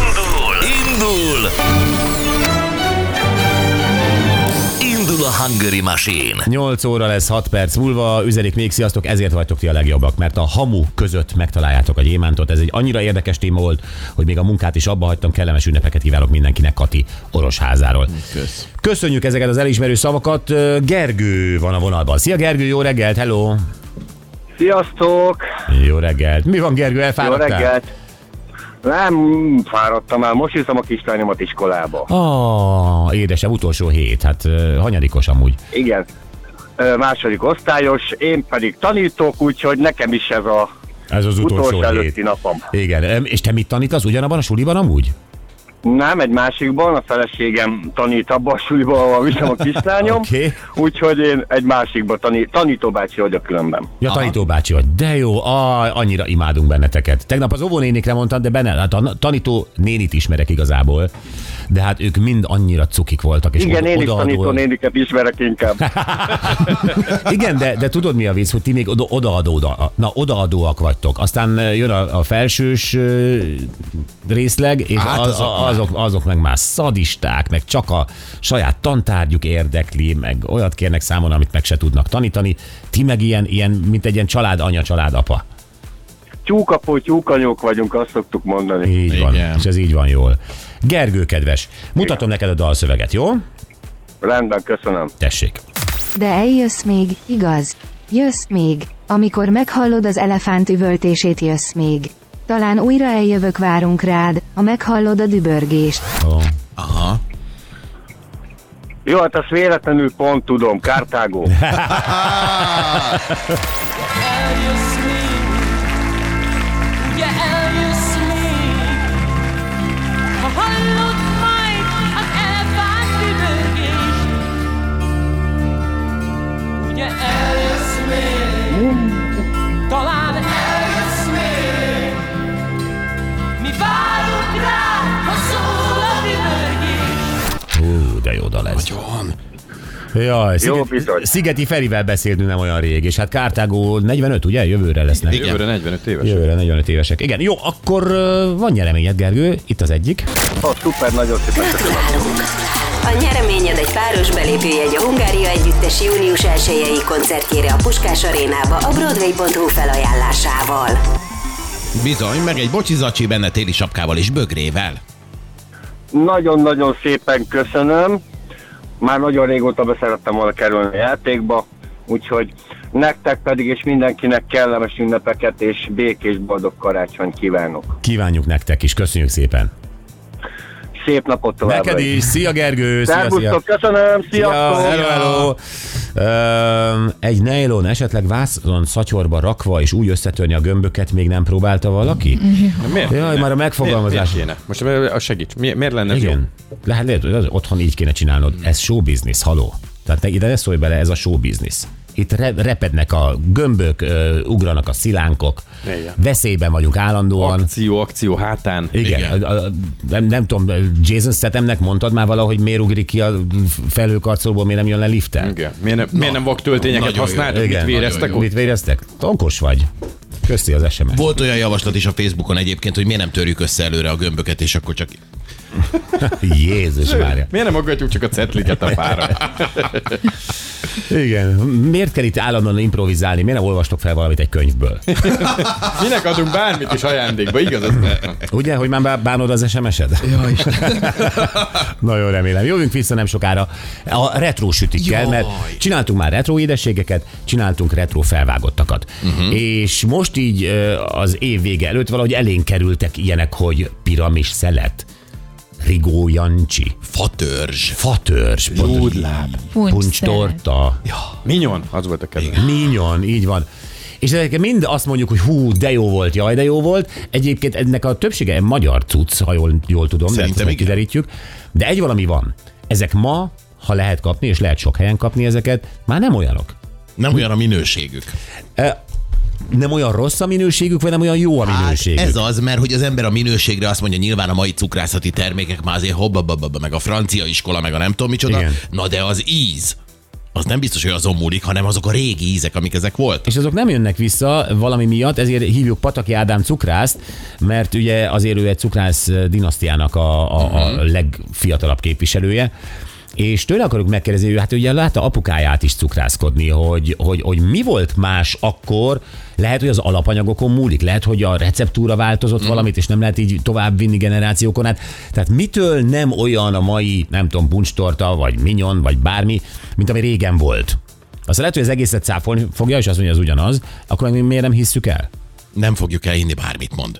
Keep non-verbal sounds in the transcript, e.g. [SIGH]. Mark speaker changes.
Speaker 1: Indul! Indul! Indul a Hungary Machine!
Speaker 2: 8 óra lesz 6 perc múlva, üzenik még, sziasztok, ezért vagytok ti a legjobbak, mert a hamu között megtaláljátok a gyémántot. Ez egy annyira érdekes téma volt, hogy még a munkát is abba hagytam, kellemes ünnepeket kívánok mindenkinek Kati Orosházáról.
Speaker 3: Kösz.
Speaker 2: Köszönjük ezeket az elismerő szavakat, Ö, Gergő van a vonalban. Szia Gergő, jó reggelt, hello!
Speaker 4: Sziasztok!
Speaker 2: Jó reggelt. Mi van Gergő,
Speaker 4: Jó
Speaker 2: elfáradtál?
Speaker 4: reggelt! Nem fáradtam el, most hiszem a kislányomat iskolába.
Speaker 2: Ah, édesem, utolsó hét, hát ö, hanyadikos amúgy.
Speaker 4: Igen, Ö, második osztályos, én pedig tanítok, úgyhogy nekem is ez a
Speaker 2: Ez az utolsó,
Speaker 4: utolsó előtti
Speaker 2: hét.
Speaker 4: napom.
Speaker 2: Igen, Em, és te mit tanítasz ugyanabban a suliban amúgy?
Speaker 4: Nem, egy másikban, a feleségem tanít abban a suliban, ahol viszem a kislányom,
Speaker 2: Oké.
Speaker 4: úgyhogy én egy másikban tanít, tanítóbácsi vagyok különben.
Speaker 2: Ja,
Speaker 3: Aha.
Speaker 2: tanítóbácsi vagy. De jó, aj, annyira imádunk benneteket. Tegnap az óvónénikre mondtam, de benne, hát a tanító nénit ismerek igazából, de hát ők mind annyira cukik voltak. És
Speaker 4: Igen,
Speaker 2: oda-
Speaker 4: én is
Speaker 2: odaadóan-
Speaker 4: tanító néniket ismerek inkább.
Speaker 2: [LAUGHS] Igen, de, de tudod mi a vicc, hogy ti még oda, odaadó, na, odaadóak vagytok. Aztán ö, jön a, a felsős ö, részleg, és
Speaker 3: Hát
Speaker 2: hát az,
Speaker 3: azok
Speaker 2: a,
Speaker 3: már.
Speaker 2: azok, azok meg már szadisták, meg csak a saját tantárgyuk érdekli, meg olyat kérnek számon, amit meg se tudnak tanítani. Ti meg ilyen, ilyen mint egy ilyen család anya, család apa.
Speaker 4: Tyúkapó, tyúkanyók vagyunk, azt szoktuk mondani.
Speaker 2: Így Igen. van,
Speaker 3: Igen.
Speaker 2: és ez így van jól. Gergő, kedves, mutatom neked a dalszöveget, jó?
Speaker 4: Rendben, köszönöm.
Speaker 2: Tessék.
Speaker 5: De eljössz még, igaz? Jössz még, amikor meghallod az elefánt üvöltését jössz még. Talán újra eljövök várunk rád, ha meghallod a dübörgést.
Speaker 2: Ó,
Speaker 3: Aha.
Speaker 4: Jó, hát azt véletlenül pont
Speaker 2: [LAUGHS]
Speaker 4: tudom, Kártágó.
Speaker 6: eljössz még, ugye eljössz még, ha hallod majd az elvált üvölgést. Ugye eljössz még, talán eljössz még, mi várunk rá, ha szól a üvölgés.
Speaker 2: Hú, de jó dal ez.
Speaker 3: John.
Speaker 2: Jaj,
Speaker 4: Jó,
Speaker 2: Sziget,
Speaker 4: bizony.
Speaker 2: Szigeti Ferivel beszéltünk nem olyan rég, és hát Kártágó 45, ugye? Jövőre lesznek.
Speaker 3: Igen.
Speaker 7: Jövőre 45 éves.
Speaker 2: Jövőre 45 évesek. Igen, jó, akkor ö, van nyereményed, Gergő, itt az egyik.
Speaker 4: Ó, szuper, nagyon szépen köszönöm.
Speaker 8: A nyereményed egy páros belépőjegy a Hungária Együttes június 1 koncertjére a Puskás Arénába a Broadway.hu felajánlásával.
Speaker 3: Bizony, meg egy bocsizacsi benne téli sapkával és bögrével.
Speaker 4: Nagyon-nagyon szépen köszönöm. Már nagyon régóta beszerettem volna kerülni a játékba, úgyhogy nektek pedig és mindenkinek kellemes ünnepeket és békés boldog karácsonyt kívánok.
Speaker 2: Kívánjuk nektek is, köszönjük szépen.
Speaker 4: Szép napot továbbra
Speaker 2: Neked is, szia Gergő, szia, szia.
Speaker 4: Szervusztok, köszönöm,
Speaker 2: Ja,
Speaker 4: sziasztok!
Speaker 2: hello, hello. Öm, egy nejlon esetleg vászon szatyorba rakva és úgy összetörni a gömböket még nem próbálta valaki?
Speaker 7: Na, Miért?
Speaker 2: Jaj,
Speaker 7: kéne?
Speaker 2: már a megfogalmazás.
Speaker 7: Miért, miért kéne? Most ö, segíts, mi, miért lenne ez jó?
Speaker 2: Igen. Lehet, lehet, hogy az otthon így kéne csinálnod. Ez show business, haló. Tehát te ide ne szólj bele, ez a show business. Itt re- repednek a gömbök, ö, ugranak a szilánkok.
Speaker 7: Igen.
Speaker 2: Veszélyben vagyunk állandóan.
Speaker 7: Akció, akció hátán.
Speaker 2: Igen,
Speaker 3: Igen.
Speaker 2: A, a, nem, nem tudom, Jason Stathamnek mondtad már valahogy miért ugrik ki a felhőkarcolóból, miért nem jön le liftel?
Speaker 7: Igen. Miért nem, miért nem vak töltényeket
Speaker 3: nagyon jó.
Speaker 7: használtak? Hát, Mit
Speaker 2: Igen.
Speaker 7: véreztek ott?
Speaker 2: Mit véreztek? Tonkos vagy. Köszi az SMS.
Speaker 3: Volt olyan javaslat is a Facebookon egyébként, hogy miért nem törjük össze előre a gömböket, és akkor csak...
Speaker 2: Jézus Mária.
Speaker 7: Miért nem aggatjuk csak a cetliket a
Speaker 2: [LAUGHS]
Speaker 7: fára?
Speaker 2: Igen. Miért kell itt állandóan improvizálni? Miért nem olvastok fel valamit egy könyvből?
Speaker 7: Minek adunk bármit is ajándékba, igaz? Ez
Speaker 2: [LAUGHS]
Speaker 7: nem.
Speaker 2: Ugye, hogy már bá- bánod az SMS-ed? Ja, [LAUGHS] Nagyon remélem. Jövünk vissza nem sokára a retro sütikkel,
Speaker 3: Jaj.
Speaker 2: mert csináltunk már retro édességeket, csináltunk retro felvágottakat.
Speaker 3: Mhm.
Speaker 2: Uh-huh. És most így ö, az év vége előtt valahogy elénk kerültek ilyenek, hogy piramis szelet, rigó jancsi,
Speaker 3: Fatörzs.
Speaker 2: fatörzs,
Speaker 7: Gyógyláb.
Speaker 9: Puncs
Speaker 2: puncstorta,
Speaker 7: Minyon, az volt a kedvenc.
Speaker 2: Minyon, így van. És ezek mind azt mondjuk, hogy hú, de jó volt, jaj, de jó volt. Egyébként ennek a többsége magyar cucc, ha jól, jól tudom, de ezt
Speaker 3: Szerintem
Speaker 2: meg
Speaker 3: igen.
Speaker 2: kiderítjük. De egy valami van. Ezek ma, ha lehet kapni, és lehet sok helyen kapni ezeket, már nem olyanok.
Speaker 3: Nem olyan a minőségük.
Speaker 2: Nem olyan rossz a minőségük, vagy nem olyan jó a minőségük.
Speaker 3: Hát, ez az, mert hogy az ember a minőségre azt mondja, nyilván a mai cukrászati termékek már azért hobba, meg a francia iskola, meg a nem tudom micsoda,
Speaker 2: Igen.
Speaker 3: na de az íz. az nem biztos, hogy azon múlik, hanem azok a régi ízek, amik ezek voltak.
Speaker 2: És azok nem jönnek vissza valami miatt, ezért hívjuk Pataki Ádám cukrászt, mert ugye azért ő egy cukrász dinasztiának a, a, a legfiatalabb képviselője. És tőle akarjuk megkérdezni, ő hát ugye látta apukáját is cukrászkodni, hogy, hogy, hogy mi volt más akkor, lehet, hogy az alapanyagokon múlik, lehet, hogy a receptúra változott mm. valamit, és nem lehet így tovább vinni generációkon át. Tehát mitől nem olyan a mai, nem tudom, puncstorta, vagy minyon, vagy bármi, mint ami régen volt? Aztán lehet, hogy az egészet cáfolni fogja, és azt mondja, az ugyanaz, akkor még miért nem hisszük el?
Speaker 3: Nem fogjuk elhinni, bármit mond.